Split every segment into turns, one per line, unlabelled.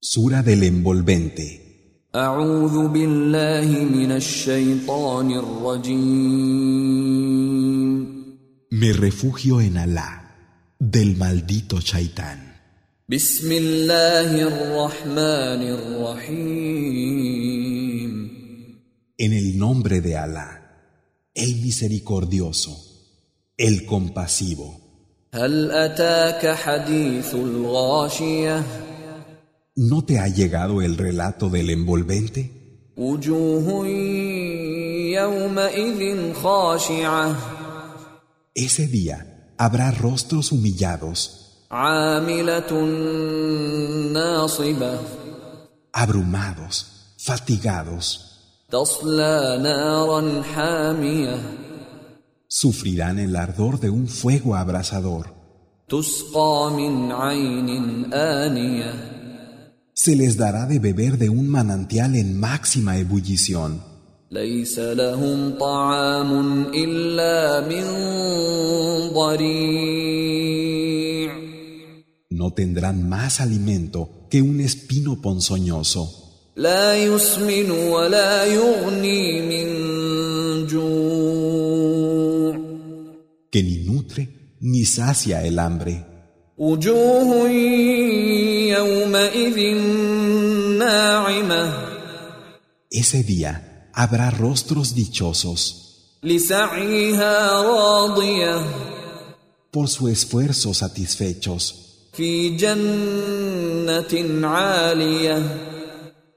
Sura del envolvente.
أعوذ بالله من الشيطان الرجيم
Me refugio en Alá, del maldito Chaitán.
بسم الله الرحمن الرحيم
En el nombre de Alá, el misericordioso, el compasivo.
هل أتاك حديث الغاشية
¿No te ha llegado el relato del envolvente?
وجوه يومئذ خاشعة
Ese día habrá rostros humillados,
عاملة ناصبة
abrumados, fatigados.
تصلى نارا حامية
Sufrirán el ardor de un fuego abrasador.
تسقى من عين آنيه
Se les dará de beber de un manantial en máxima ebullición.
ليس لهم طعام إلا من ضريع
No tendrán más alimento que un espino ponzoñoso.
لا يسمن ولا يغني من جوع
que ni nutre ni sacia el hambre.
وجوه يومئذ ناعمة
Ese día habrá rostros dichosos.
لسعيها راضية
Por su esfuerzo satisfechos,
في جنة عالية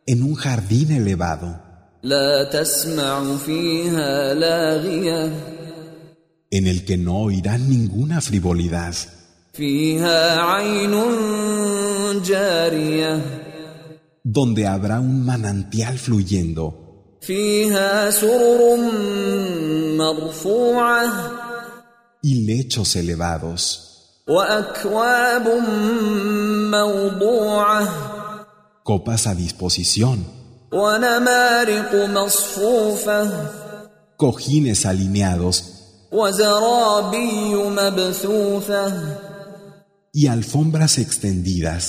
en un jardín elevado,
لا تسمع فيها لاغيه
en el que no oirán ninguna frivolidad.
فيها عين جارية
Donde habrá un manantial fluyendo,
فيها سرر مرفوعة
y lechos elevados,
وأكواب موضوعة
copas a disposición,
ونمارق مصفوفة
cojines alineados,
وزرابي مبثوثة
y alfombras extendidas.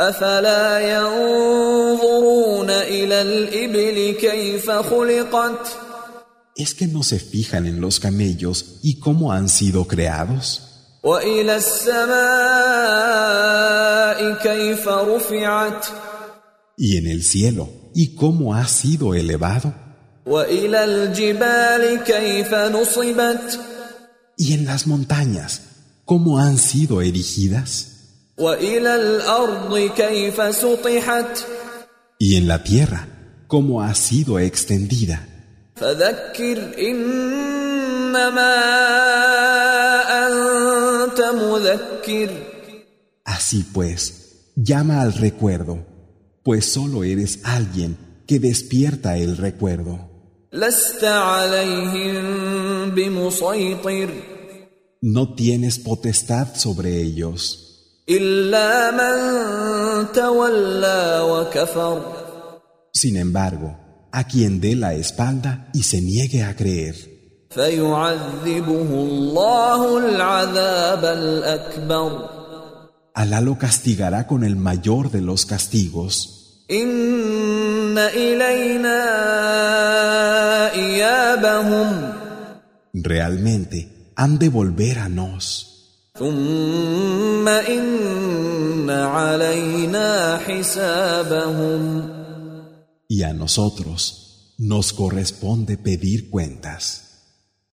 أفلا ينظرون إلى الإبل كيف خلقت ؟
¿Es que no se fijan en los camellos y cómo han sido creados?
وإلى السماء كيف رفعت
y en el cielo, y cómo ha sido elevado,
وإلى الجبال كيف نصبت
y en las montañas, cómo han sido erigidas,
وإلى الأرض كيف سطحت
y en la tierra, cómo ha sido extendida.
فذكر إنما أنت مذكر
Así pues, llama al recuerdo, pues solo eres alguien que despierta el recuerdo.
لست عليهم بمسيطر
No tienes potestad sobre ellos,
إلا من تولى وكفر
sin embargo, a quien dé la espalda y se niegue a creer.
فيعذبه الله العذاب الأكبر
Alá lo castigará con el mayor de los castigos.
إن إلينا إيابهم
realmente han de volver a nos,
ثم إن علينا حسابهم
y a nosotros nos corresponde pedir cuentas.